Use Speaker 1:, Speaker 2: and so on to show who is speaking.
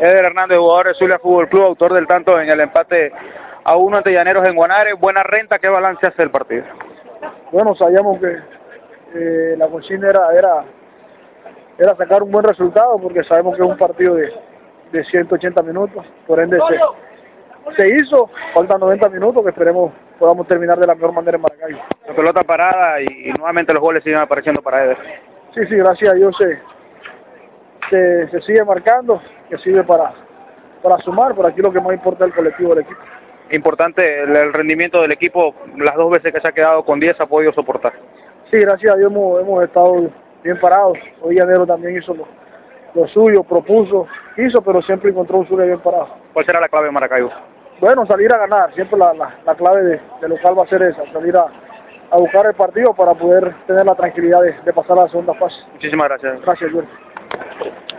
Speaker 1: Eder Hernández, jugador de Zulia Fútbol Club, autor del tanto en el empate a uno ante Llaneros en Guanare. Buena renta, ¿qué balance hace el partido?
Speaker 2: Bueno, sabíamos que eh, la consigna era, era, era sacar un buen resultado porque sabemos que es un partido de, de 180 minutos, por ende se, se hizo, faltan 90 minutos que esperemos podamos terminar de la mejor manera en Maracaibo.
Speaker 1: La pelota parada y, y nuevamente los goles siguen apareciendo para Eder.
Speaker 2: Sí, sí, gracias a Dios se, se, se sigue marcando, que sirve para, para sumar, por aquí lo que más importa es el colectivo del equipo
Speaker 1: importante el, el, rendimiento del equipo, las dos veces que se ha quedado con 10 ha podido soportar.
Speaker 2: Sí, gracias a Dios hemos, hemos estado bien parados. Hoy Llanero también hizo lo, lo, suyo, propuso, hizo, pero siempre encontró un suyo bien parado.
Speaker 1: ¿Cuál será la clave de Maracaibo?
Speaker 2: Bueno, salir a ganar, siempre la, la, la clave de, de, local va a ser esa, salir a, a, buscar el partido para poder tener la tranquilidad de, de pasar a la segunda fase.
Speaker 1: Muchísimas gracias.
Speaker 2: Gracias, Jorge.